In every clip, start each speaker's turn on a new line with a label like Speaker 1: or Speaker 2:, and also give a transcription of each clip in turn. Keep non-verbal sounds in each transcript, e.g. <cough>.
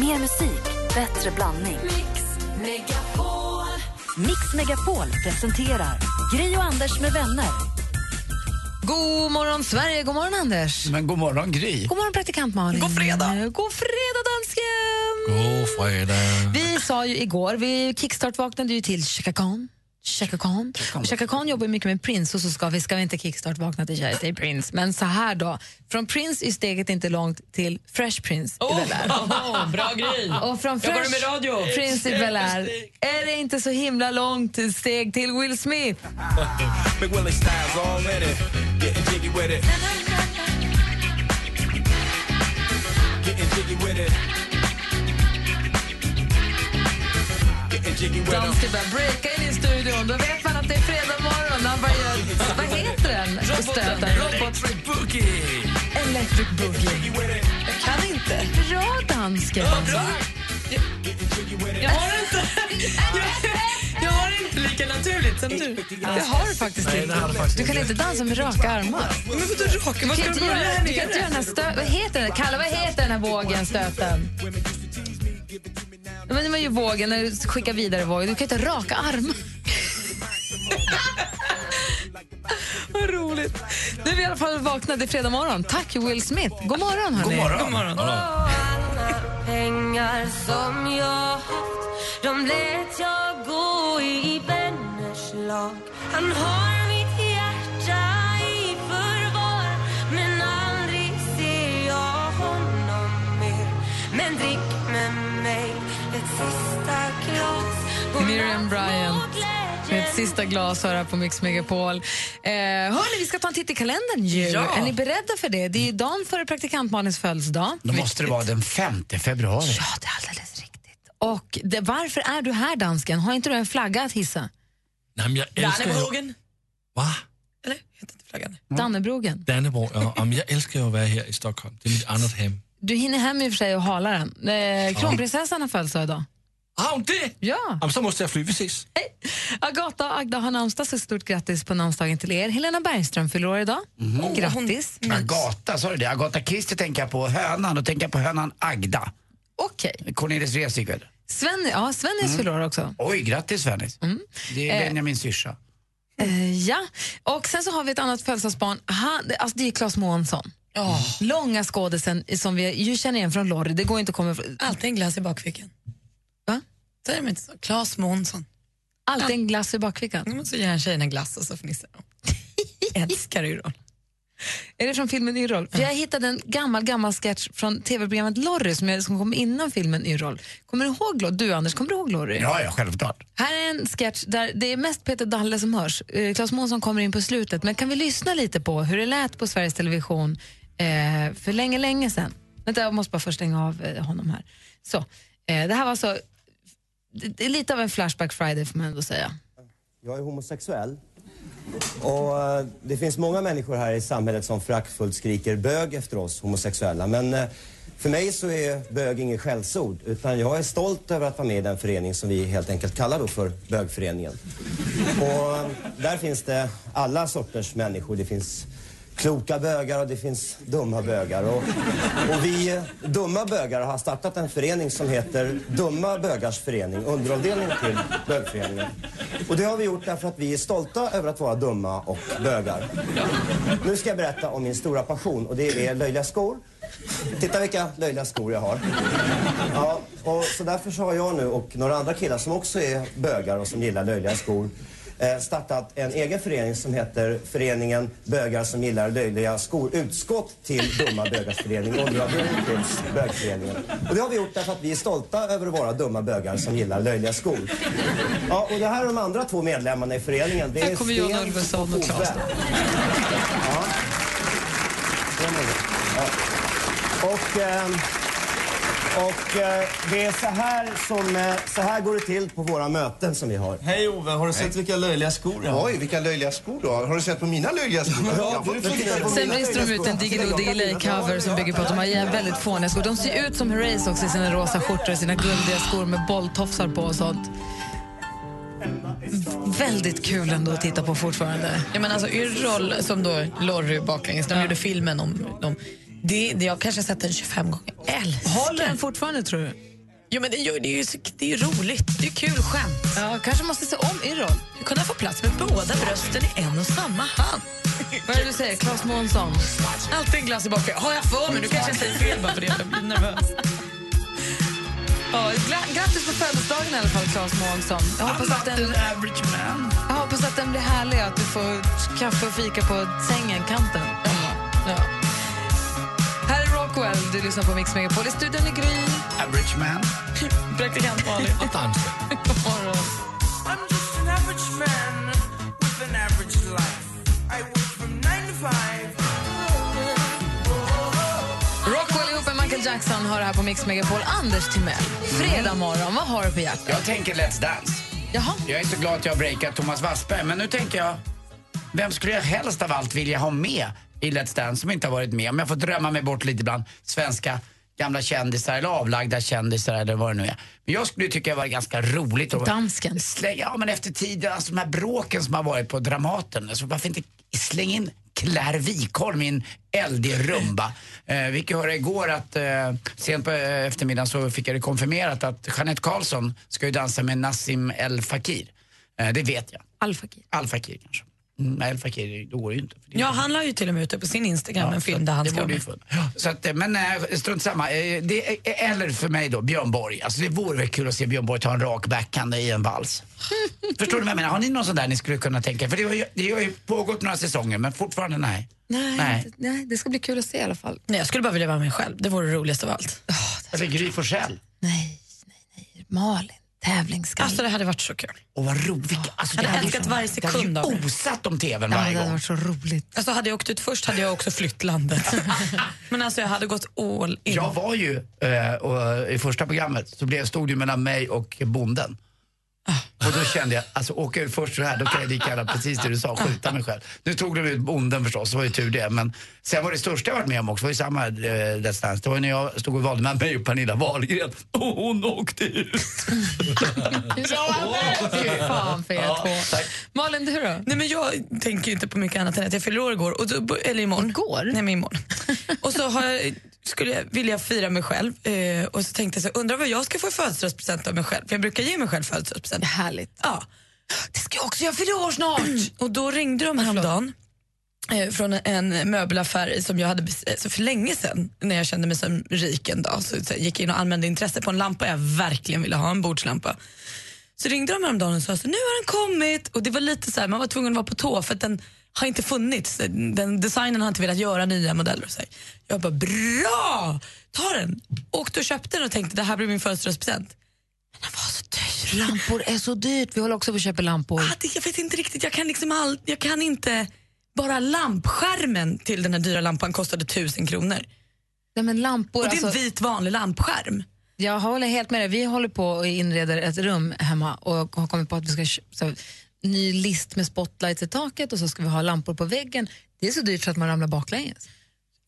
Speaker 1: Mer musik, bättre blandning.
Speaker 2: Mix Megapol.
Speaker 1: Mix Megapol presenterar Gri och Anders med vänner.
Speaker 3: God morgon, Sverige. God morgon, Anders.
Speaker 4: Men god morgon, Gry.
Speaker 3: God morgon, praktikant Malin.
Speaker 4: God fredag.
Speaker 3: God fredag, dansken!
Speaker 4: God fredag.
Speaker 3: Vi sa ju igår, vi kickstart-vaknade ju till Chaka Khan. Chaka Khan. Och Chaka Khan jobbar ju mycket med Prince och så ska vi, ska vi inte kickstart-vakna till Charity Prince. Men så här då, från Prince är steget inte långt till Fresh Prince i Bel Air.
Speaker 5: <laughs> bra grej!
Speaker 3: Och från
Speaker 5: Jag går
Speaker 3: Fresh
Speaker 5: med radio.
Speaker 3: Prince i Bel Air är det inte så himla långt steg till Will Smith.
Speaker 6: Big Willie style's all in it. Getting jiggy with it. Getting jiggy with it. Getting jiggy with
Speaker 3: De
Speaker 6: 'em.
Speaker 3: ska börja breaka in i studion. Då vet man att det är fredag morgon. Han bara gör, vad heter den? Stöten. Robot.
Speaker 6: Electric boogie.
Speaker 3: Electric Boogie.
Speaker 6: Jiggy with it.
Speaker 5: Jag kan inte.
Speaker 3: Bra dansken.
Speaker 6: Getting jiggy with
Speaker 5: Jag
Speaker 6: it.
Speaker 5: har inte, <laughs> jag, jag har inte lika naturligt som du.
Speaker 3: Det har du faktiskt inte. Du kan inte dansa med raka armar.
Speaker 5: Men vadå raka? Vad ska
Speaker 3: Du kan
Speaker 5: du
Speaker 3: inte
Speaker 5: börja
Speaker 3: göra,
Speaker 5: här
Speaker 3: du kan inte göra
Speaker 5: nere?
Speaker 3: den här stö- vad heter den? Kalle, vad heter den här vågen, stöten? Men det var ju vågen när du skickar vidare vågen. Du kan inte raka armar. <laughs> Vad roligt. Nu är vi i alla fall vaknade i fredag morgon. Tack Will Smith. God morgon hörni.
Speaker 4: God morgon.
Speaker 5: God morgon.
Speaker 2: Pengar som jag haft, de lät jag gå i vänners lag. Han har mitt hjärta i förvar, men aldrig ser jag honom mer. Men drick med mig ett sista glas. Godnatt,
Speaker 3: Miriam Bryant
Speaker 2: må glädjen
Speaker 3: Med ett sista glas här på Mix Megapol. Eh, hörni, vi ska ta en titt i kalendern ju.
Speaker 5: Ja.
Speaker 3: Är ni beredda för det? Det är ju dagen före praktikant Malins födelsedag.
Speaker 4: Då måste det vara den 5 februari.
Speaker 3: Ja, det är alldeles riktigt. Och det, varför är du här dansken? Har inte du en flagga att
Speaker 4: Mm.
Speaker 3: hissa?
Speaker 7: Nej, men jag älskar ju...
Speaker 5: Dannebrogen.
Speaker 7: Va?
Speaker 5: Eller? Heter inte flaggan?
Speaker 3: Dannebrogen.
Speaker 7: Dannebro, ja. Ja, men jag älskar ju att vara här i Stockholm. Det är mitt annat hem.
Speaker 3: Du hinner hem i och för sig och halar den. Eh, kronprinsessan har födelsedag idag.
Speaker 7: Har hon det?
Speaker 3: Ja.
Speaker 7: men så måste jag fly. Vi ses.
Speaker 3: Agata och Agda har namnsdag, så stort grattis på namnsdagen till er. Helena Bergström fyller år idag.
Speaker 4: Mhm.
Speaker 3: Grattis.
Speaker 4: Agata, sa du det? Agata Christie tänker jag på. Hönan, då tänker jag på hönan Agda.
Speaker 3: Okej.
Speaker 4: Cornelis Vreeswijk. väl?
Speaker 3: Sven, ja, Svennis
Speaker 4: Mm.
Speaker 3: fyller år också.
Speaker 4: Oj, grattis Svennis. Det är
Speaker 3: Eh.
Speaker 4: Benjamins syrsa.
Speaker 3: Eh, Ja, och sen så har vi ett annat födelsedagsbarn. Han, det- alltså det är Claes Månsson. Långa skådisen som vi ju känner igen från Lorry. Det går inte att komma ifrån.
Speaker 5: Alltid en glass i bakfickan.
Speaker 3: Va?
Speaker 5: Säger de inte så? Claes Månsson.
Speaker 3: Alltid en glass i bakfickan.
Speaker 5: Mm, Så ger han tjejerna glass och så fnissar <laughs> de. Älskar du då?
Speaker 3: Är det från filmen Yrrol? För jag hittade en gammal, gammal sketch från tv-programmet Lorry som, jag- som kom innan filmen Yrrol. Kommer du ihåg Lorry? Du Anders, kommer du ihåg Lorry?
Speaker 4: Ja, ja, självklart.
Speaker 3: Här är en sketch där det är mest Peter Dalle som hörs. Eh, Claes Månsson kommer in på slutet. Men kan vi lyssna lite på hur det lät på Sveriges Television eh, för länge, länge sedan? Vänta, jag måste bara först stänga av eh, honom här. Så, eh, det här var så... Det, det är lite av en Flashback Friday får man ändå säga.
Speaker 8: Jag är homosexuell. Och eh, det finns många människor här i samhället som föraktfullt skriker bög efter oss homosexuella. Men eh, för mig så är bög inget skällsord. Utan jag är stolt över att vara med i den förening som vi helt enkelt kallar då för bögföreningen. Och eh, där finns det alla sorters människor. Det finns kloka bögar och det finns dumma bögar. Och, och vi eh, dumma bögar har startat en förening som heter Dumma bögars förening, underavdelning till bögföreningen. Och det har vi gjort därför att vi är stolta över att vara dumma och bögar. Nu ska jag berätta om min stora passion och det är löjliga skor. Titta vilka löjliga skor jag har. Ja, och så därför så har jag nu och några andra killar som också är bögar och som gillar löjliga skor eh, startat en egen förening som heter Föreningen Bögar som gillar löjliga skor. Utskott till Dumma bögars förening, underavdelning till bögföreningen. Och det har vi gjort därför att vi är stolta över att vara dumma bögar som gillar löjliga skor. Ja, och det här är de andra två medlemmarna i föreningen. Det är
Speaker 3: kommer Jan Ulveson och Claes
Speaker 8: Ove. Ja. Det är något. Ja. Och... ehm, och eh, det är så här som, eh, så här går det till på våra möten som vi har.
Speaker 9: Hej Ove, har du sett vilka löjliga skor jag har?
Speaker 10: Oj, vilka löjliga skor du har. Har du sett på mina löjliga skor?
Speaker 9: Ja, du får titta på
Speaker 3: Sen
Speaker 9: mina
Speaker 3: brister de ut en Diggiloo Diggiley-cover som bygger på att de har jä- väldigt fåniga skor. De ser ut som Herreys också i sina rosa skjortor och sina guldiga skor med bolltofsar på och sånt. Väldigt kul ändå att titta på fortfarande.
Speaker 5: Ja, men alltså Yrrol, som då Lorry baklänges, de gjorde filmen om, om
Speaker 11: Det, det, jag kanske har sett den 25 gånger. Älskar
Speaker 3: Håller den fortfarande, tror du?
Speaker 11: Jo, men det, gör- det, är ju, så- det är ju roligt. Det är kul skämt.
Speaker 3: Ja, kanske måste se om Irrol.
Speaker 11: Du kunde få plats med båda brösten i en och samma hand.
Speaker 3: Vad är det du säger? Claes Månsson?
Speaker 11: Alltid en glass i bakfickan. Har jag för mig? Nu kanske jag säger fel bara för det. Jag blir nervös.
Speaker 3: Ja, gla- grattis på födelsedagen i alla fall, Claes Månsson. Jag hoppas att den...
Speaker 4: average man.
Speaker 3: Jag hoppas att den blir härlig och att du får kaffe och fika på sängen, kanten. Ja. Här är Rockwell, du lyssnar på Mix Megapol. I studion är Gry.
Speaker 4: Average man.
Speaker 11: Praktikant Malin.
Speaker 7: Och danska.
Speaker 3: God morgon.
Speaker 12: I'm just an average man with an average life. I work from nine to five.
Speaker 3: Rockwell ihop med Michael Jackson har det här på Mix Megapol. Anders Timell, fredag morgon, vad har du på hjärtat?
Speaker 4: Jag tänker Let's Dance.
Speaker 3: Jaha.
Speaker 4: Jag är så glad att jag har breakat Thomas Wassberg, men nu tänker jag, vem skulle jag helst av allt vilja ha med i Let's Dance som inte har varit med? Om jag får drömma mig bort lite bland svenska gamla kändisar eller avlagda kändisar eller vad det nu är. Men jag skulle ju tycka det var ganska roligt att
Speaker 3: Dansken.
Speaker 4: slänga, ja men efter tiden, alltså de här bråken som har varit på Dramaten, alltså varför inte slänga in Claire Wikholm i en eldig rumba. Eh, vi fick ju höra igår att eh, sent på eh, eftermiddagen så fick jag det konfirmerat att Jeanette Karlsson ska ju dansa med Nassim El Fakir. Eh, det vet jag.
Speaker 3: Al Fakir.
Speaker 4: Al Fakir kanske. Mm, nej, El Fakir, det går ju inte.
Speaker 11: Ja, han la ju till och med ute på sin Instagram
Speaker 4: Ja,
Speaker 11: en film där han
Speaker 4: det
Speaker 11: ska
Speaker 4: borde ju
Speaker 11: vara med.
Speaker 4: Ja, Så att, eh, men eh, strunt samma. Eh, Det, eh, eller för mig då, Björn Borg. Alltså det vore väl kul att se Björn Borg ta en rak backhand i
Speaker 11: <laughs>
Speaker 4: en vals. Förstår du vad jag menar? Har ni någon sån där ni skulle kunna tänka? För det har ju, det har ju pågått några säsonger men fortfarande nej.
Speaker 3: Nej,
Speaker 4: Nej.
Speaker 3: inte- nej, det ska bli kul att se i alla fall.
Speaker 11: Nej, jag skulle bara vilja vara med själv. Det vore roligast av allt.
Speaker 4: Eller Gry Forssell.
Speaker 3: Malin, tävlingsskalle.
Speaker 11: Alltså det hade varit så kul.
Speaker 4: Och vad roligt. Alltså,
Speaker 11: Jag hade
Speaker 4: ju-
Speaker 11: älskat varje sekund
Speaker 4: Det
Speaker 11: av
Speaker 4: hade
Speaker 11: det.
Speaker 4: ju osat om tvn
Speaker 11: Ja, det
Speaker 4: varje
Speaker 11: hade
Speaker 4: gång.
Speaker 3: varit så roligt.
Speaker 11: Alltså hade jag åkt ut först hade jag också flytt landet. <laughs> Men alltså jag hade gått all in.
Speaker 4: Jag var ju eh, och, i första programmet så blev, stod det ju mellan mig och bonden. Och då kände jag, alltså åka ut först så här, då kan jag lika gärna precis det du sa, skjuta mig själv. Nu tog de ut bonden förstås, det var ju tur det. Men sen var det största jag varit med om också, var ju samma eh, Let's Dance. Det var ju när jag stod och valde mellan mig och Pernilla Wahlgren. Och hon åkte ut!
Speaker 3: Fy fan för er två. Malin, du då?
Speaker 11: Nej, men jag tänker ju inte på mycket annat än att jag fyller år igår. Och då, bo- eller imorgon.
Speaker 3: Igår?
Speaker 11: Nej,
Speaker 3: <laughs>
Speaker 11: men imorgon. och så har jag, skulle jag vilja fira mig själv. Eh, och så tänkte jag så här, undrar vad jag ska få i födelsedagspresent av mig själv. För jag brukar ge mig själv födelsedagspresent.
Speaker 3: Härligt. Mm.
Speaker 11: Ja.
Speaker 3: Det ska jag också göra, fyller år snart!
Speaker 11: och då ringde de häromdagen eh, från en möbelaffär som jag hade bes- eh, så för länge sedan när jag kände mig som rik en dag. Så, så jag gick jag in och anmälde intresse på en lampa jag verkligen ville ha, en bordslampa. Så ringde de häromdagen och sa så nu har den kommit och det var lite så här, man var tvungen att vara på tå för att den har inte funnits. Den designen har inte velat göra nya modeller. Och så här. Jag bara bra, ta den. Åkte och köpte den och tänkte det här blir min födelsedagspresent.
Speaker 3: Lampor är så dyrt, vi håller också på att köpa lampor.
Speaker 11: att jag vet inte riktigt, jag kan liksom all, jag kan inte, bara lampskärmen till den här dyra lampan kostade tusen kronor.
Speaker 3: Nej, men lampor,
Speaker 11: Och det är en
Speaker 3: alltså-
Speaker 11: vit vanlig lampskärm.
Speaker 3: Jag håller helt med dig. Vi håller på och inreder ett rum hemma och har kommit på att vi ska köpa så, här, ny list med spotlights i taket och så ska vi ha lampor på väggen. Det är så dyrt så att man ramlar baklänges.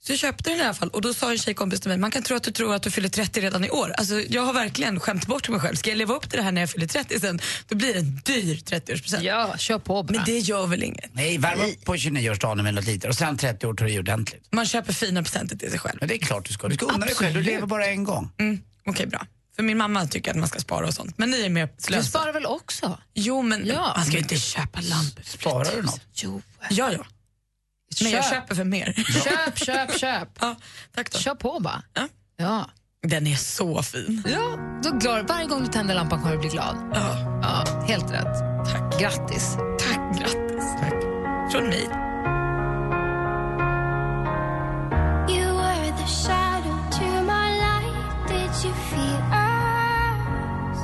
Speaker 11: Så jag köpte den i alla fall och då sa en tjejkompis till mig, man kan tro att du tror att du fyller 30 redan i år. Alltså jag har verkligen skämt bort mig själv. Ska jag leva upp till det här när jag fyller 30 sen, då blir det en dyr 30-årspresent.
Speaker 3: Ja, kör på
Speaker 11: Men det gör väl inget.
Speaker 4: Nej, värm upp på 29-årsdagen med något litet och sen 30 år tar du i ordentligt.
Speaker 11: Man köper fina presenter till sig själv.
Speaker 4: Men det är klart du ska. Du ska unna dig själv, du lever bara en gång.
Speaker 11: Mm, Okej, bra. För min mamma tycker att man ska spara och sånt. Men ni är mer
Speaker 3: Du
Speaker 11: slösa.
Speaker 3: sparar väl också?
Speaker 11: Jo, men
Speaker 3: Ja.
Speaker 11: man ska ju inte köpa lampor.
Speaker 4: Sparar du något?
Speaker 3: Jo.
Speaker 11: Ja, ja. Men jag
Speaker 3: Köp.
Speaker 11: köper för mer.
Speaker 3: Köp, köp, köp.
Speaker 11: Ja, tack då.
Speaker 3: Kör på bara.
Speaker 11: Ja.
Speaker 3: Ja.
Speaker 11: Den är så fin.
Speaker 3: Ja, då är glad. Varje gång du tänder lampan kommer du bli glad.
Speaker 11: Ja.
Speaker 3: Ja, helt rätt. Tack. Grattis.
Speaker 11: Tack, grattis. Från mig.
Speaker 2: You were the shadow to my light. Did you feel us?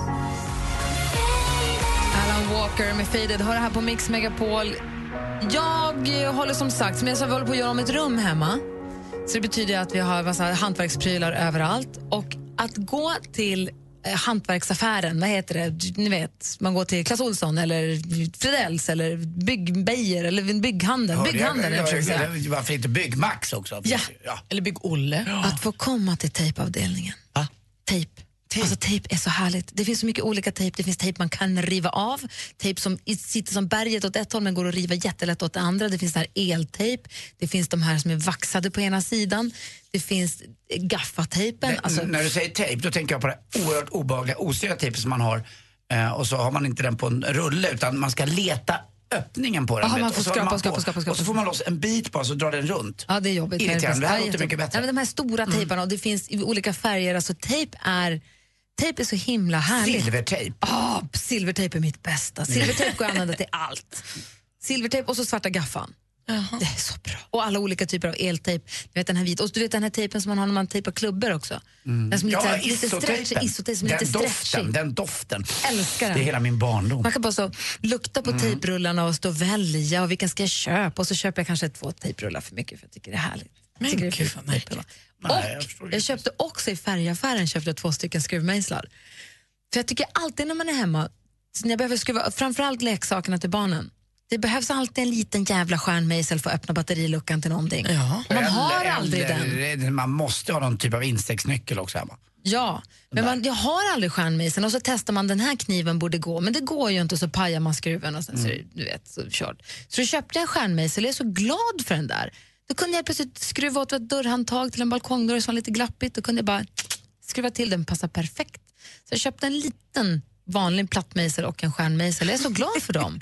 Speaker 3: Alan Walker med Faded har det här på Mix Megapol. Jag eh, håller som sagt, som jag sa, vi håller på att göra om ett rum hemma. Så det betyder att vi har massa hantverksprylar överallt. Och att gå till eh, hantverksaffären, vad heter det, ni vet, man går till Clas Ohlson eller Fridells eller Bygg Beijer eller bygghandeln,
Speaker 4: Hörde jag-
Speaker 3: bygghandeln jag,
Speaker 4: jag-
Speaker 3: försöker säga.
Speaker 4: jag- Varför inte Byggmax också?
Speaker 3: Ja.
Speaker 4: ja.
Speaker 11: Eller Bygg-Olle.
Speaker 3: Att få komma till tejpavdelningen. Tejp. Alltså tejp är så härligt. Det finns så mycket olika tejp. Det finns tejp man kan riva av, tejp som i- sitter som berget åt ett håll men går att riva jättelätt åt det andra. Det finns där eltejp, det finns de här som är vaxade på ena sidan, det finns eh, gaffatejpen. Alltså,
Speaker 4: N- När du säger tejp, då tänker jag på det oerhört obehagliga, osyra tejpen som man har. Eh, och så har man inte den på en rulle, utan man ska leta öppningen på den.
Speaker 3: Aha,
Speaker 4: vet
Speaker 3: man
Speaker 4: du.
Speaker 3: får
Speaker 4: och, så
Speaker 3: skrapa,
Speaker 4: håller på.
Speaker 3: skrapa, skrapa, skrapa.
Speaker 4: och så får man loss en bit bara, så drar den runt.
Speaker 3: Ja, det är jobbigt. när
Speaker 4: Irriterande.
Speaker 3: finns-
Speaker 4: Det här
Speaker 3: Ja,
Speaker 4: låter
Speaker 3: jättejobbigt.
Speaker 4: mycket bättre. Mm.
Speaker 3: Ja, men de här stora tejparna och det finns i olika färger. Alltså tejp är Tejp är så himla härligt.
Speaker 4: Silvertejp.
Speaker 3: Ja, Ah, silvertejp är mitt bästa. Silvertejp går att använda till allt. Silvertejp och så svarta gaffan. Det är så bra. Och alla olika typer av eltejp. Du vet den här vita. Och du vet den här tejpen som man har när man tejpar klubbor också.
Speaker 4: Mm.
Speaker 3: Den som är lite,
Speaker 4: ja,
Speaker 3: ja, lite stretchig, isotejp som är
Speaker 4: den
Speaker 3: lite
Speaker 4: doften,
Speaker 3: stretchig.
Speaker 4: den doften.
Speaker 3: Älskar den.
Speaker 4: Det är hela min barndom.
Speaker 3: Man kan bara så lukta på
Speaker 4: Mm.
Speaker 3: tejprullarna och stå och välja och vilken ska jag köpa och så köper jag kanske två tejprullar för mycket för jag tycker det är härligt. Men tycker gud vad märkligt. Och jag, köpte också i färgaffären köpte jag två stycken skruvmejslar. För jag tycker alltid när man är hemma, så när jag behöver skruva, framförallt leksakerna till barnen, det behövs alltid en liten jävla stjärnmejsel för att öppna batteriluckan till någonting. Och man har aldrig den.
Speaker 4: den. Man måste ha någon typ av insektsnyckel också hemma.
Speaker 3: Ja, men man, jag har aldrig stjärnmejseln och så testar man den här kniven borde gå, men det går ju inte och så pajar man skruven och sen så, är det, du vet, så kört. Så då köpte jag en stjärnmejsel och jag är så glad för den där. Då kunde jag plötsligt skruva åt ett dörrhandtag till en balkongdörr som var lite glappigt. Då kunde jag bara skruva till den, passar perfekt. Så jag köpte en liten vanlig plattmejsel och en stjärnmejsel. Jag är så glad för dem.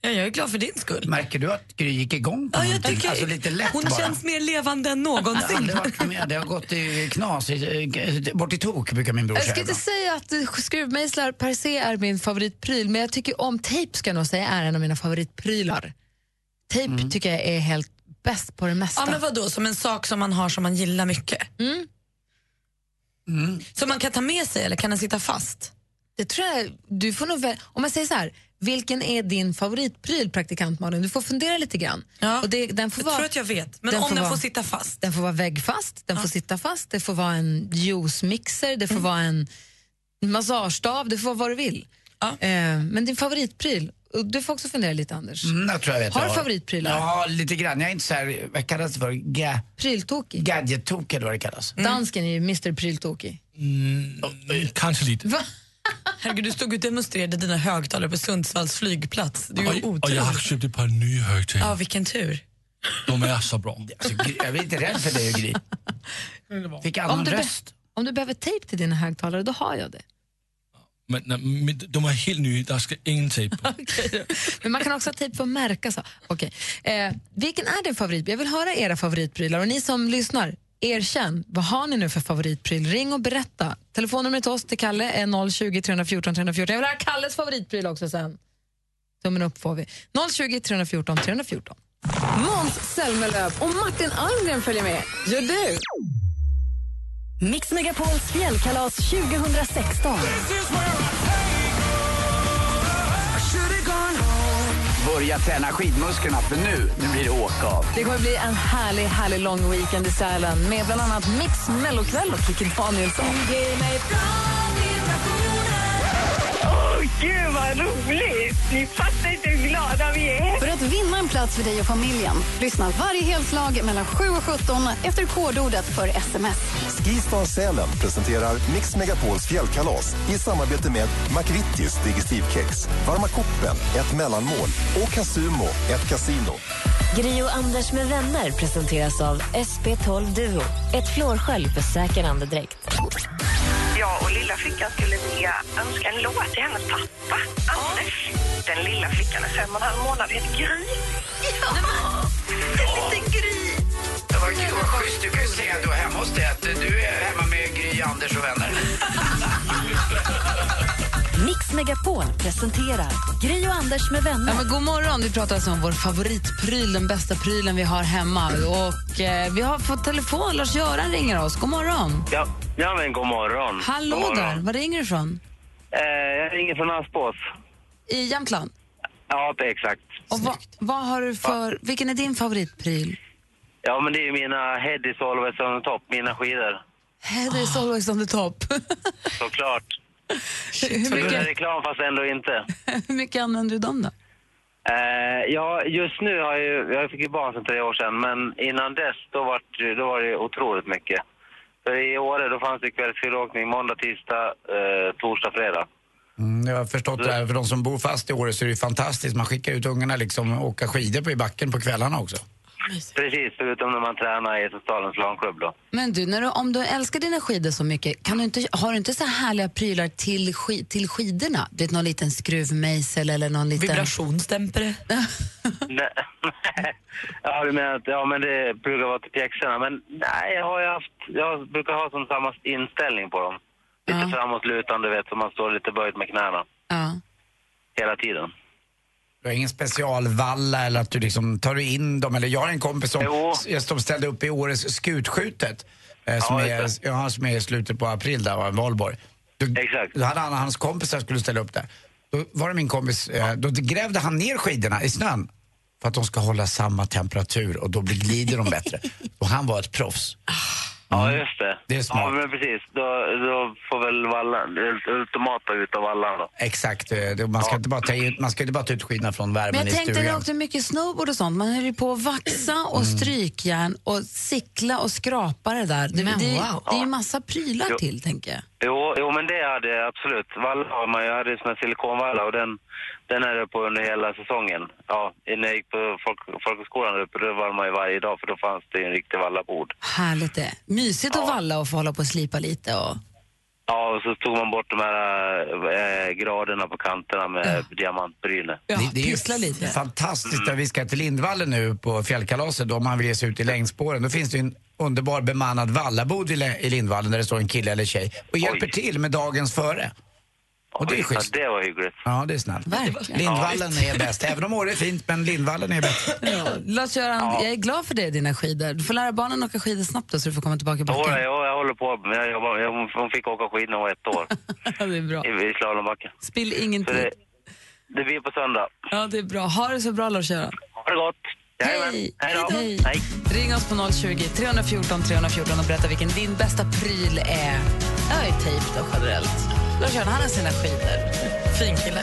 Speaker 11: Ja, jag är glad för din skull.
Speaker 4: Märker du att Gry gick igång på
Speaker 11: Ja, jag
Speaker 4: någonting?
Speaker 11: tycker,
Speaker 4: alltså lite lätt
Speaker 11: hon
Speaker 4: bara.
Speaker 11: känns mer levande än
Speaker 4: Ja,
Speaker 11: någonsin.
Speaker 4: det, var, men det har gått i knas, i- i- bort i tok brukar min bror
Speaker 3: Jag ska
Speaker 4: säga.
Speaker 3: inte säga att eh, skruvmejslar per se är min favoritpryl, men jag tycker om tejp ska jag nog säga är en av mina favoritprylar. Tejp tycker jag är helt bäst på det mesta.
Speaker 11: Ja, men vadå, som en sak som man har som man gillar mycket? Som man kan ta med sig eller kan den sitta fast?
Speaker 3: Det tror jag, du får nog väl, om man säger så här, vilken är din favoritpryl praktikant Malin? Du får fundera lite grann. Och det, den får
Speaker 11: Jag
Speaker 3: vara,
Speaker 11: tror att jag vet, men om den får sitta fast?
Speaker 3: Den får vara väggfast, den får sitta fast, det får vara en juicemixer,
Speaker 11: Mm.
Speaker 3: det får vara en massagestav, det får vara vad du vill. Eh, men din favoritpryl, och du får också fundera lite Anders.
Speaker 4: Mm, jag tror jag vet
Speaker 3: har
Speaker 4: vad
Speaker 3: du
Speaker 4: jag
Speaker 3: favoritprylar?
Speaker 4: Ja, lite grann. Jag är inte så här, vad kallas det för? Ga-
Speaker 3: Pryltokig?
Speaker 4: Gadgettokig eller vad det kallas.
Speaker 3: Dansken är ju Mr Pryltokig.
Speaker 7: Mm, Kanske lite.
Speaker 11: Herregud, du stod och demonstrerade dina högtalare på Sundsvalls flygplats. Du är ju
Speaker 7: Och jag har
Speaker 11: otrolig.
Speaker 7: köpt ett par nya högtalare.
Speaker 11: Ja, vilken tur.
Speaker 7: De är så bra.
Speaker 4: Alltså, jag är inte rädd för dig, Gry. Fick annan
Speaker 3: Om du, be-
Speaker 4: röst.
Speaker 3: om du behöver tejp till dina högtalare, då har jag det.
Speaker 7: Men, nej, men de är helt nya, där ska ingen tejp på.
Speaker 3: Men man kan också ha tejp för att märka. Så. Okej. Eh, vilken är din favoritpryl? Jag vill höra era favoritprylar. Och ni som lyssnar, erkänn. Vad har ni nu för favoritpryl? Ring och berätta. Telefonnumret till oss till Kalle är 020 314 314. Jag vill höra Kalles favoritpryl också sen. Tummen upp får vi. 020 314 314.
Speaker 13: Måns Zelmerlöw och Martin Almgren följer med. Gör du!
Speaker 1: Mix Megapols fjällkalas 2016.
Speaker 4: Börja träna skidmusklerna för nu, nu blir det åka av.
Speaker 13: Det kommer bli en härlig, härlig lång weekend i Sälen med bland annat Mix Mellokväll och Kikki Danielsson.
Speaker 14: Åh, gud vad roligt! Ni fattar inte hur glada vi är.
Speaker 15: För att vinna en plats för dig och familjen, lyssna varje helslag mellan 7 och 17 efter kodordet för sms.
Speaker 16: Skistar Sälen presenterar Mix Megapols fjällkalas i samarbete med McVittys Digestivkex, Varma koppen, ett mellanmål och Casumo, ett kasino.
Speaker 1: Gri och Anders med vänner presenteras av SP12 Duo. Ett flårskölj för säker andedräkt.
Speaker 14: Jag och lilla flickan skulle vilja önska en låt till hennes pappa, Anders. Den lilla flickan är fem och en halv månad, heter Gry. Ja! En liten Gry.
Speaker 4: Det var kul, vad schysst. Du kan ju säga då hemma hos dig att eh, du är hemma med Gry, Anders och vänner.
Speaker 1: Mix Megapol presenterar Gri och Anders med vänner.
Speaker 3: Ja, men god morgon. Vi pratar alltså om vår favoritpryl, den bästa prylen vi har hemma. Och eh, Vi har fått telefon. Lars-Göran ringer oss. God morgon.
Speaker 17: Ja, ja men god morgon.
Speaker 3: Hallå
Speaker 17: god
Speaker 3: där.
Speaker 17: morgon.
Speaker 3: Var ringer du ifrån?
Speaker 17: Eh, jag ringer från Aspås.
Speaker 3: I Jämtland.
Speaker 17: Ja, det- exakt.
Speaker 3: Och vad, vad har du för, vilken är din favoritpryl?
Speaker 17: Ja, men det är ju mina Head is always on top, mina skidor.
Speaker 3: Heather is always on the
Speaker 17: <laughs>
Speaker 3: top.
Speaker 17: Såklart.
Speaker 3: hur,
Speaker 17: Så det är
Speaker 3: mycket,
Speaker 17: reklam fast ändå inte.
Speaker 3: hur mycket använder du dem då?
Speaker 17: Eh, ja, just nu har jag ju, jag fick ju barn för tre år sedan, men innan dess då var, det- då var det otroligt mycket. För i Åre då fanns det kvällsskidåkning måndag, tisdag, eh, torsdag, fredag.
Speaker 4: Mm, jag har förstått det här. För de som bor fast i Åre så är det ju fantastiskt. Man skickar ut ungarna liksom och åka skidor på, i backen på kvällarna också.
Speaker 17: Precis, förutom när man tränar i Salens långklubb då.
Speaker 3: Men du, när du, om du älskar dina skidor så mycket, kan du inte, har du inte så här härliga prylar till, ski, till skidorna? Du vet, någon liten skruvmejsel eller någon liten... Vibrationsdämpare.
Speaker 17: Nej. <laughs> ja, du menar att, ja men det brukar vara till pjäxorna. Men nej, jag har ju haft, jag brukar ha som samma inställning på dem. Lite framåtlutande vet, så man står lite böjt med knäna.
Speaker 3: Ja.
Speaker 17: Hela tiden.
Speaker 4: Du har ingen specialvalla eller att du liksom tar in dem. Eller jag har en kompis som,
Speaker 17: Jo.
Speaker 4: som ställde upp i Åres skutskjutet. Eh, som,
Speaker 17: Ja,
Speaker 4: är,
Speaker 17: just
Speaker 4: ja, som är i slutet på april där, va, i Valborg. Då, Exakt. Då hade han och hans kompisar skulle ställa upp där. Då var det min kompis, eh, då grävde han ner skidorna i snön. För att de ska hålla samma temperatur och då blir glider de bättre. och han var ett proffs.
Speaker 17: Ja, just det.
Speaker 4: Mm. Det är smart.
Speaker 17: Ja, men precis. Då, då får väl vallan, det ultimata utav vallan då.
Speaker 4: Exakt, eh, det- man ska, inte, bara ta in, man ska inte bara ta ut skidorna från
Speaker 3: Men
Speaker 4: värmen i
Speaker 3: jag tänkte,
Speaker 4: stugan.
Speaker 3: jag åkte mycket snowboard och sånt. Man höll ju på att vaxa och strykjärn och sickla och skrapa det där. Det,
Speaker 17: Men
Speaker 3: det,
Speaker 17: wow.
Speaker 3: det är ju massa prylar
Speaker 17: Jo.
Speaker 3: till, tänker jag.
Speaker 17: Jo, jo, men det hade jag absolut. Valla har man ju. Jag hade ju sån här silikonvalla och den, den är jag på under hela säsongen. Ja, när jag gick på folk, folkhögskolan där uppe, då var man ju varje dag för då fanns det ju en riktig vallabord.
Speaker 3: Härligt det. Mysigt att valla och få hålla på och slipa lite. Och...
Speaker 17: Ja, och så tog man bort de här eh, graderna på kanterna med diamantbryne.
Speaker 4: det, det är ju fantastiskt när vi ska till Lindvallen nu på fjällkalaset då, om man vill ge sig ut i längdspåren. Då finns det ju en underbar bemannad vallabod i Le- i Lindvallen där det står en kille eller tjej och hjälper till med dagens före. Och det är
Speaker 17: Oj,
Speaker 4: schysst.
Speaker 17: Ja, det var hyggligt.
Speaker 4: Ja, det är snällt.
Speaker 3: Verkligen.
Speaker 4: Lindvallen
Speaker 3: Ja, visst.
Speaker 4: är bäst, även om Åre är fint, men Lindvallen är bäst.
Speaker 3: Lars-Göran, jag är glad för dig och dina skidor. Du får lära barnen åka skidor snabbt då, så du får komma tillbaka <laughs> i
Speaker 17: Jo,
Speaker 3: backen.
Speaker 17: jag, jag håller på. Men jag, jobbar- jag, hon- hon fick åka skidor när hon var ett år.
Speaker 3: det är bra.
Speaker 17: I, i slalombacken.
Speaker 3: Spill ingen
Speaker 17: Så
Speaker 3: tid.
Speaker 17: det, det blir på söndag.
Speaker 3: Ja, det är bra. Ha det så bra, Lars-Göran.
Speaker 17: Ha det gott! Hej! Hej då! Hej!
Speaker 3: Ring oss på 020 314 314 och berätta vilken din bästa pryl är. Jag är tejp då generellt. Lars-Göran, han har sina skidor. Fin kille.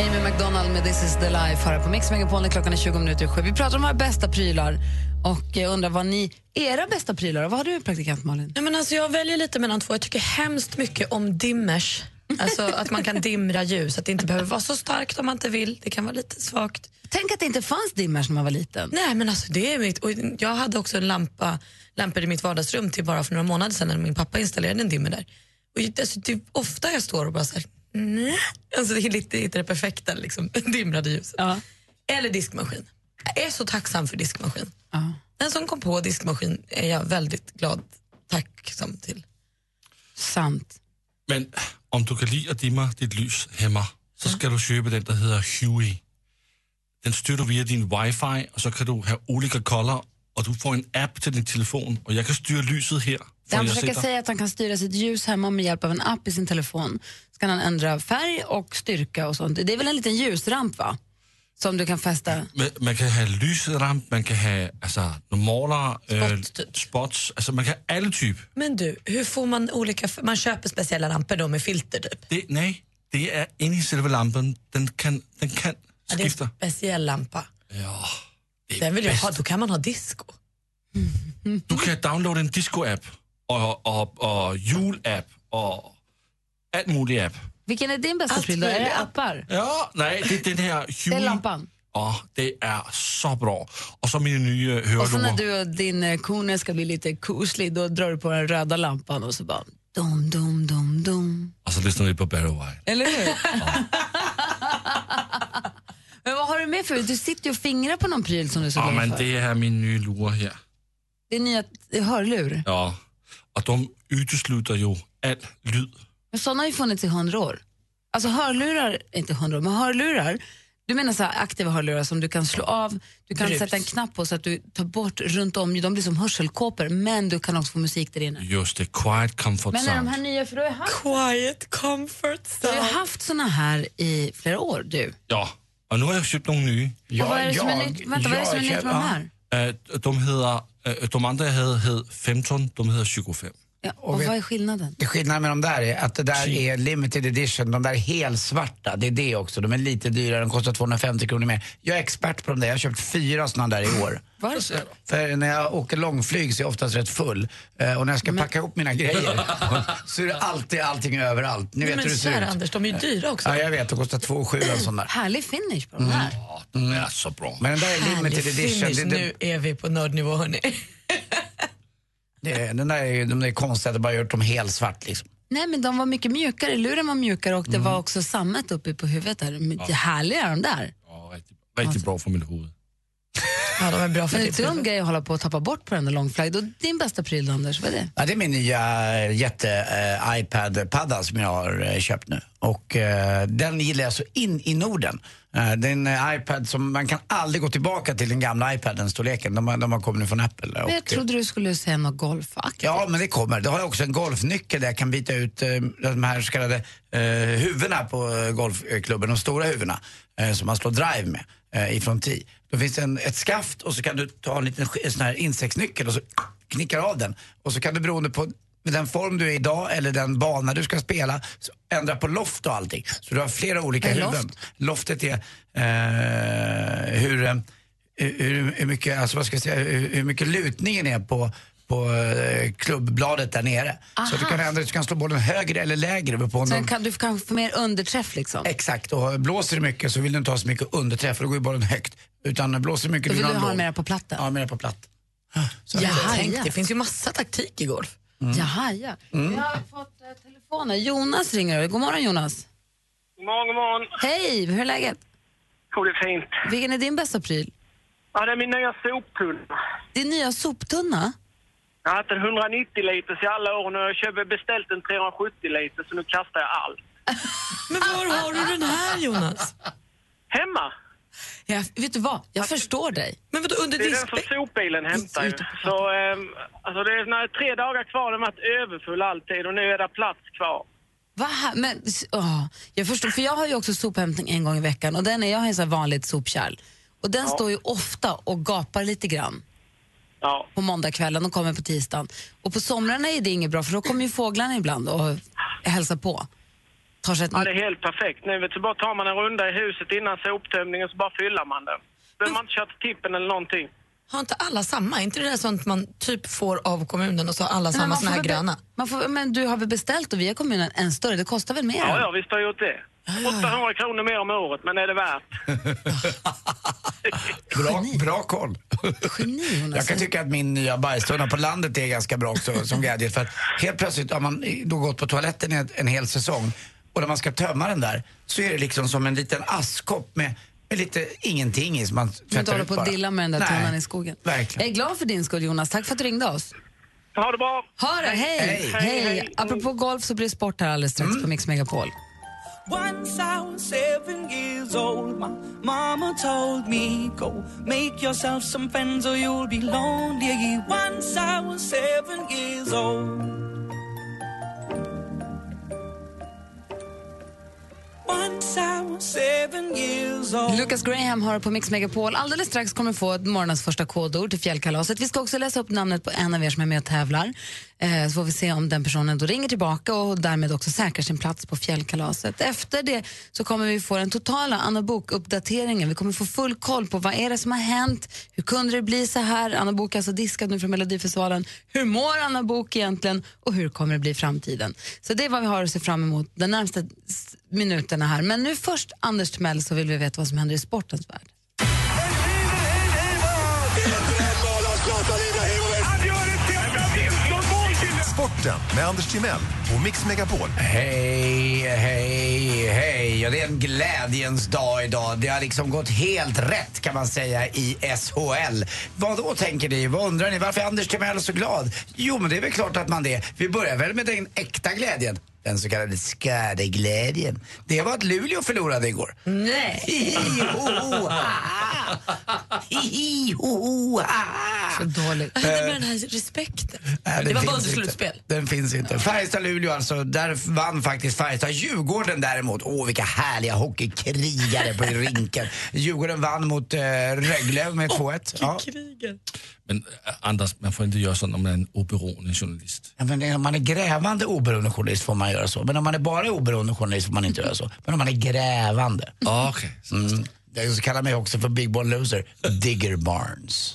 Speaker 3: Amy McDonald med This is the life här på Mix Megapol när klockan är 20 minuter i sju. Vi pratar om våra bästa prylar och jag undrar vad ni, era bästa prylar, vad har du praktikant Malin?
Speaker 11: Nej, men alltså, jag väljer lite mellan två. Jag tycker hemskt mycket om dimmers. Alltså att man <laughs> kan dimra ljus, att det inte behöver vara så starkt om man inte vill. Det kan vara lite svagt.
Speaker 3: Tänk att det inte fanns dimmers när man var liten.
Speaker 11: Nej, men alltså det är mitt. Och jag hade också en lampa, lampor i mitt vardagsrum till bara för några månader sedan när min pappa installerade en dimmer där. Och ju- alltså, typ, ofta jag står och bara så här, nej. Alltså det är lite, inte det perfekta liksom, <laughs> dimrade ljuset. Eller diskmaskin. Jag är så tacksam för diskmaskin. Den som kom på diskmaskin är jag väldigt glad tacksam till.
Speaker 3: Sant.
Speaker 7: Men om du kan lide at dimme dit lys hemma, så skal du købe den, der hedder Huey. Den styrer du via din wifi, og så kan du have olika kolder, og du får en app til din telefon, og jeg kan styre lyset her. hvor
Speaker 3: Han
Speaker 7: jeg
Speaker 3: försöker
Speaker 7: sidder.
Speaker 3: säga att han kan styra sitt ljus hemma med hjälp av en app i sin telefon. Så kan han ändra färg och styrka och sånt. Det är väl en liten ljusramp va? Som du kan fästa.
Speaker 7: Men Man kan have lysramp, man kan have altså, nogle målere, spots, øh, spots, altså man kan have alle typer.
Speaker 11: Men du, hur får man olika... f- Man köper speciella lampor då med filter typ.
Speaker 7: Det, nej, det er inde i selve lampen, den kan, den kan
Speaker 11: Ja, det är en
Speaker 7: skifte.
Speaker 11: speciell lampa.
Speaker 7: Ja, det er
Speaker 11: Den vill jag
Speaker 7: bedst.
Speaker 11: ha, då kan man ha disco.
Speaker 7: Du kan downloade en disco-app, og, og, og jul-app, og alt muligt app.
Speaker 3: Vilken är din bästa pryl då? Är det appar?
Speaker 7: Ja, nej, det er den her Huey.
Speaker 3: Det är lampan.
Speaker 7: Åh, det er så bra. Og så mine nye øh,
Speaker 3: Och så när
Speaker 7: hørelurer.
Speaker 3: du och din eh, kone ska bli lite koslig, då drar du på den röda lampan och så bara dum, dum, dum, dum.
Speaker 7: Og så lyssner vi på Barry White.
Speaker 3: Eller hur? <laughs> Men vad har du med för? Du sitter ju och fingrar på någon pryl som du är så
Speaker 7: Ja,
Speaker 3: glad
Speaker 7: men
Speaker 3: för.
Speaker 7: det er mine nye lurer her.
Speaker 3: Det är nya hörlur.
Speaker 7: Ja. Og de uteslutter jo alt lyd.
Speaker 3: Men sådana har ju funnits i hundra år. Alltså hörlurar, inte hundra år, men hörlurar. Du menar så här aktiva hörlurar som du kan slå av, du kan
Speaker 11: Brus.
Speaker 3: sätta en knapp på så att du tar bort runt om, de blir som hörselkåpor, men du kan också få musik där inne.
Speaker 7: Just det, quiet comfort
Speaker 3: Men är de
Speaker 7: sound.
Speaker 3: här nya, för du har ju haft...
Speaker 11: Quiet comfort
Speaker 3: Du har ju haft såna här i flera år, du.
Speaker 7: Ja, og nu har jeg købt nogle nye.
Speaker 3: <laughs> och vad är det som är nytt, vänta, vad är det som är nytt med de här?
Speaker 7: Øh, de, hedder, øh, de andre, jeg havde, hed 15, de hedder Psycho 5.
Speaker 3: och vad är skillnaden?
Speaker 4: Skillnaden med de där är att det där är limited edition, de där helsvarta, det är det också. De är lite dyrare, de kostar 250 kronor mer. Jag är expert på de där, jag har köpt fyra sådana där i år.
Speaker 3: Varför?
Speaker 4: För när jag åker långflyg så är jag oftast rätt full. Eh, Och när jag ska packa ihop mina grejer så är det alltid allting överallt. Ni
Speaker 11: Nej,
Speaker 4: vet
Speaker 11: men
Speaker 4: hur det ser
Speaker 11: kära
Speaker 4: ut.
Speaker 11: Anders, de är ju dyra också.
Speaker 4: Ja, jag vet. De kostar 2 7 en sån där.
Speaker 3: Härlig finish på de här.
Speaker 4: Mm. Ja, så bra. Men den där är limited
Speaker 11: Härlig
Speaker 4: edition.
Speaker 11: finish,
Speaker 4: Det, det,
Speaker 11: nu är vi på nördnivå hörni.
Speaker 4: det, den där är, ju- de där är konstiga, de har bara gjort dem helt svart liksom.
Speaker 3: Nej, men de var mycket mjukare, luren var mjukare och det var också sammet uppe på huvudet. Där. Men
Speaker 7: Ja.
Speaker 3: Det härliga är de där.
Speaker 7: Rigtig bra för mitt huvud.
Speaker 11: Ja, de är bra
Speaker 3: Men det är
Speaker 11: ditt
Speaker 3: en dum
Speaker 11: huvud.
Speaker 3: grej att hålla på att tappa bort på den där långflagg. Och Din bästa pryl då, Anders, vad är det?
Speaker 4: Ja, det är min nya eh, jätte-iPad-padda som jag har eh, köpt nu. Och eh, den gillar jag så in i Norden. Eh, det är en eh, iPad som man kan aldrig gå tillbaka till den gamla iPaden, storleken. De, har- de har kommit nu från Apple.
Speaker 3: Men jag trodde du skulle säga något golfaktigt.
Speaker 4: Ja, men det kommer. Då har jag också en golfnyckel där jag kan byta ut eh, de här så kallade eh, huvudena på eh, golfklubben, de stora huvudena eh, som man slår drive med eh, ifrån tee. Då finns det en, ett skaft och så kan du ta en liten sk- en sån här insektsnyckel och så knickar av den. Och så kan du beroende på med den form du är idag eller den bana du ska spela så ändra på loft och allting. Så du har flera olika
Speaker 3: Vad är
Speaker 4: huvuden. Loftet är eh, hur, eh, hur, hur, mycket, alltså vad ska jag säga, hur, hur mycket lutningen är på på eh, klubbbladet där nere. Så att du
Speaker 3: Aha.
Speaker 4: kan ändra, du kan slå bollen högre eller lägre. På om
Speaker 3: Sen
Speaker 4: de,
Speaker 3: kan du kanske få mer underträff liksom.
Speaker 4: exakt, och blåser det mycket så vill du inte ha så mycket underträff för då går ju bollen högt. Utan blåser det mycket
Speaker 3: Då vill du
Speaker 4: en
Speaker 3: ha
Speaker 4: låg-
Speaker 3: mera på platten.
Speaker 4: Ja, mera på platt. Så
Speaker 11: Jag
Speaker 4: att-
Speaker 11: tänkte, det finns ju massa taktik i golf.
Speaker 4: Mm.
Speaker 3: Jaha, ja. Vi har fått eh, telefoner. Jonas ringer. God morgon, Jonas.
Speaker 17: God morgon, god morgon.
Speaker 3: Hej, hur är läget?
Speaker 17: Jo, det är fint.
Speaker 3: Vilken är din bästa pryl?
Speaker 17: Ja, det är min nya soptunna.
Speaker 3: Din nya soptunna?
Speaker 17: Jag har haft en 190 liters i alla år och nu har jag köpt- beställt en 370 liters så nu kastar jag allt.
Speaker 11: Men var har du den här Jonas?
Speaker 17: Hemma.
Speaker 3: Jag, vet du vad, jag förstår dig.
Speaker 11: Men vadå, under
Speaker 17: det är den som
Speaker 11: diskbänken?
Speaker 17: sopbilen hämtar ju. Så, ehm, alltså det är när tre dagar kvar, den har varit överfull alltid och nu är det plats kvar.
Speaker 3: Va? här- Men, s- åh, jag förstår, för jag har ju också sophämtning en gång i veckan och den är, jag har ju så här vanligt sopkärl. Och den står ju ofta och gapar lite grann. På måndagskvällen och kommer på tisdagen. Och på somrarna är det inget bra för då kommer ju fåglarna ibland och hälsar på. Tar sig ett...
Speaker 17: Ja, det är helt perfekt nu. Vet du, bara tar man en runda i huset innan soptömningen så bara fyller man den. Behöver man inte köra till tippen eller någonting.
Speaker 4: eh,
Speaker 11: Har inte alla samma? Är inte det där sånt man typ får av kommunen och så har alla
Speaker 3: Men
Speaker 11: samma
Speaker 3: man
Speaker 11: såna
Speaker 3: får
Speaker 11: här
Speaker 3: väl be-
Speaker 11: gröna?
Speaker 3: Man får, men du har väl beställt och via kommunen en större? Det kostar väl mer?
Speaker 17: Ja, ja, visst har jag gjort det. 800 kronor mer om året, men är det värt?
Speaker 4: Bra, bra koll. Jag kan tycka att min nya bajstunna på landet är ganska bra också som gadget. För att helt plötsligt har man då gått på toaletten i en, en hel säsong och när man ska tömma den där så är det liksom som en liten askkopp med, med lite ingenting i som man
Speaker 3: Du inte
Speaker 4: tvättar
Speaker 3: hålla
Speaker 4: ut
Speaker 3: på
Speaker 4: bara.
Speaker 3: att dilla med den där
Speaker 4: Nej,
Speaker 3: tunnan i skogen.
Speaker 4: Verkligen.
Speaker 3: Jag är glad för din skull Jonas, tack för att du ringde oss.
Speaker 17: Ha det bra!
Speaker 3: Ha det, hej!
Speaker 18: Hej.
Speaker 3: Hej,
Speaker 18: Hej, hej.
Speaker 3: Apropå golf så blir det sport här alldeles strax på Mix Megapol.
Speaker 2: Once I was seven years old, my mama told me, Go make yourself some friends or you'll be lonely. Once I was seven years old. Once I was seven years old.
Speaker 3: Lucas Graham har på Mix Megapol. Alldeles strax kommer du få morgonens första kodord till fjällkalaset. Vi ska också läsa upp namnet på en av er som är med och tävlar. Eh, så får vi se om den personen då ringer tillbaka och därmed också säkrar sin plats på fjällkalaset. Efter det så kommer vi få den totala Anna Bok-uppdateringen. Vi kommer få full koll på vad är det som har hänt, hur kunde det bli så här? Anna Bok är alltså diskad nu från Melodifestivalen. Hur mår Anna Bok egentligen och hur kommer det bli i framtiden? Så det är vad vi har att se fram emot de närmsta s- minuterna här. Men nu först Anders Timell så vill vi veta vad som händer i sportens värld.
Speaker 8: Sporten med Anders Timell och Mix Megapol.
Speaker 4: Hej, hej, hej. Ja, det är en glädjens dag idag. Det har liksom gått helt rätt kan man säga i SHL. Vad då tänker ni? Vad undrar ni? Varför är Anders Timell så glad? Jo, men det är väl klart att man det. Vi börjar väl med den äkta glädjen. Den så kallade skadeglädjen. Det var att Luleå förlorade igår.
Speaker 3: Nej!
Speaker 4: Hihi, ho, ho, ha, ha. Hihi, ho, ho, ha, ha.
Speaker 19: Så
Speaker 11: <laughs>
Speaker 19: dåligt.
Speaker 20: Vad hände med den här respekten?
Speaker 4: Eh, Nej,
Speaker 20: det var bara under
Speaker 4: finns inte.
Speaker 20: slutspel.
Speaker 4: Den finns inte. Färjestad-Luleå alltså, där vann faktiskt Färjestad. Djurgården däremot, åh vilka härliga hockeykrigare
Speaker 20: <laughs>
Speaker 4: på rinken. Djurgården vann mot eh, Rögle med 2-1. Ja.
Speaker 7: Men eh, Anders, man får inte göra sånt om man är en oberoende journalist.
Speaker 4: Ja, men om man är grävande oberoende journalist får man göra så. Men om man är bara oberoende journalist får man inte göra så. Men om man är grävande.
Speaker 7: Okej.
Speaker 4: Mm. Jag kallar mig också för Big Ball Loser, Digger Barnes.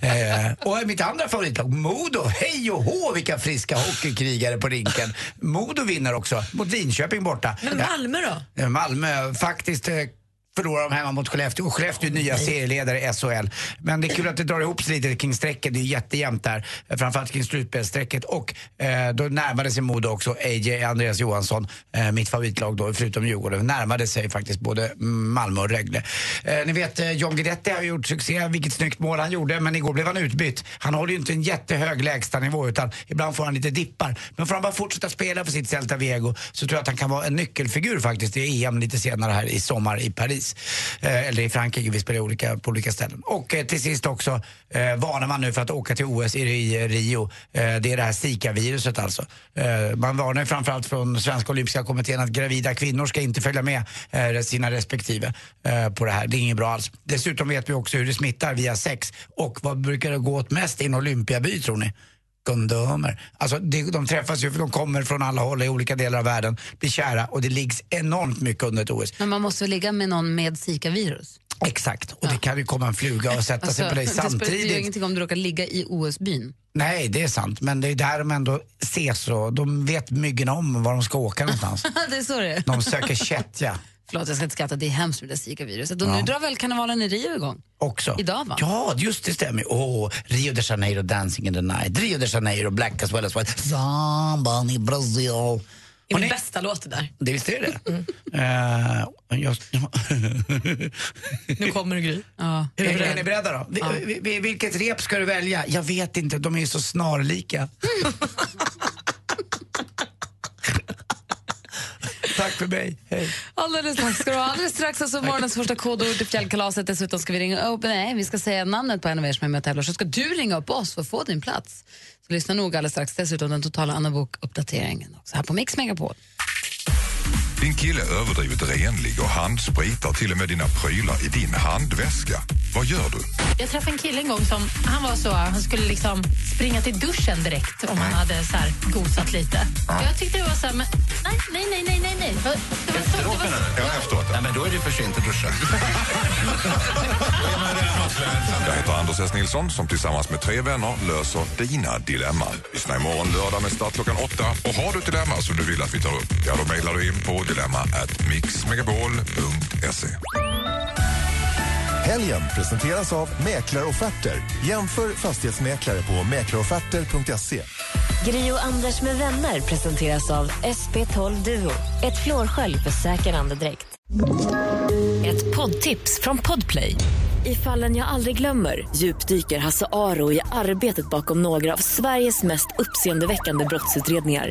Speaker 4: eh, och mitt andra favoritlag, Modo. Hej och hå vilka friska hockeykrigare på rinken. Modo vinner också mot Linköping borta.
Speaker 20: Men
Speaker 4: Ja.
Speaker 20: Malmö då?
Speaker 4: Eh, Malmö faktiskt eh, förlorar de hemma mot Skellefteå och Skellefteå är nya serieledare i SHL. Men det är kul att det drar ihop sig lite kring strecket. Det är jättejämnt där, eh, framförallt kring slutspelsstrecket. Och eh, då närmade sig Modo också. AJ Andreas Johansson, eh, mitt favoritlag då, förutom Djurgården, närmade sig faktiskt både Malmö och Rögle. Eh, ni vet, eh, John Guidetti har gjort succé, vilket snyggt mål han gjorde, men igår blev han utbytt. Han håller ju inte en jättehög lägstanivå utan ibland får han lite dippar. Men får han bara fortsätta spela för sitt Celta Vigo så tror jag att han kan vara en nyckelfigur faktiskt i EM lite senare här i sommar i Paris. Eh, eller i Frankrike, vi spelar i olika, på olika ställen. Och eh, till sist också eh, varnar man nu för att åka till OS i, i Rio. Eh, det är det här Zika-viruset alltså. Eh, man varnar ju framförallt från Svenska Olympiska Kommittén att gravida kvinnor ska inte följa med eh, sina respektive eh, på det här. Det är inget bra alls. Dessutom vet vi också hur det smittar via sex. Och vad brukar det gå åt mest i en Olympiaby tror ni? kondomer. Alltså det, de träffas ju för de kommer från alla håll i olika delar av världen, blir kära och det liggs enormt mycket under ett OS.
Speaker 3: Men man måste väl ligga med någon med Zika-virus? Alltså,
Speaker 4: Exakt, och det kan ju komma en fluga och sätta sig på dig
Speaker 3: <laughs> Det spelar ju
Speaker 4: samtidigt.
Speaker 3: ingenting om du råkar ligga i <laughs> OS-byn.
Speaker 4: Nej, det är sant, men det är där de ändå ses och de vet myggorna om var de ska åka någonstans.
Speaker 3: det är så det är.
Speaker 4: De söker kättja
Speaker 3: Förlåt, jag ska inte skratta. Det är hemskt med det där Zika-viruset. Och
Speaker 4: Ja.
Speaker 3: nu drar väl karnevalen i Rio igång?
Speaker 4: också.
Speaker 3: Idag, va?
Speaker 4: Ja, just det stämmer. Åh, Rio de Janeiro, Dancing in the night. Rio de Janeiro, Black as well as white. Zamban i Brazil.
Speaker 20: Det är min bästa låt det där.
Speaker 4: Det visste är det? Eh, jag...
Speaker 20: Nu kommer det Gry.
Speaker 3: Ja.
Speaker 4: Är, är ni beredda då? Vi, vi- vi, vilket rep ska du välja? Jag vet inte, de är ju så snarlika.
Speaker 3: Mm.
Speaker 4: <laughs> Tack för mig, hej.
Speaker 3: Alldeles strax ska du ha. Alldeles strax alltså morgonens första kodord till fjällkalaset. Dessutom ska vi ringa upp, nej, vi ska säga namnet på en av er som är med och tävlar. Så ska du ringa upp oss för att få din plats. Så lyssna noga alldeles strax. Dessutom den totala Anna Book-uppdateringen också här på Mix Megapol.
Speaker 2: Din kille är överdrivet renlig och handspritar till och med dina prylar i din handväska. Vad gör du?
Speaker 21: Jag träffade en kille en gång som han var så, han skulle liksom springa till duschen direkt om han hade så här gosat lite.
Speaker 2: Ja.
Speaker 21: Jag tyckte det var så här, men nej, nej, nej, nej, nej, nej. Det var- det var så- det var-
Speaker 2: Ja, efteråt. Nej, men då är det för sent att duscha. Jag heter Anders S. Nilsson som tillsammans med tre vänner löser dina dilemman. Lyssna imorgon lördag med start klockan åtta. Och har du ett dilemma som du vill att vi tar upp, ja då mejlar du in på dilemma at mixmegapol.se.
Speaker 22: Helgen presenteras av Mäklarofferter. Jämför fastighetsmäklare på mäklarofferter.se.
Speaker 23: Gri och Anders med vänner presenteras av SP12 Duo. Ett flårskölj för säker andedräkt.
Speaker 1: Ett poddtips från Podplay. I fallen jag aldrig glömmer djupdyker Hasse Aro i arbetet bakom några av Sveriges mest uppseendeväckande brottsutredningar.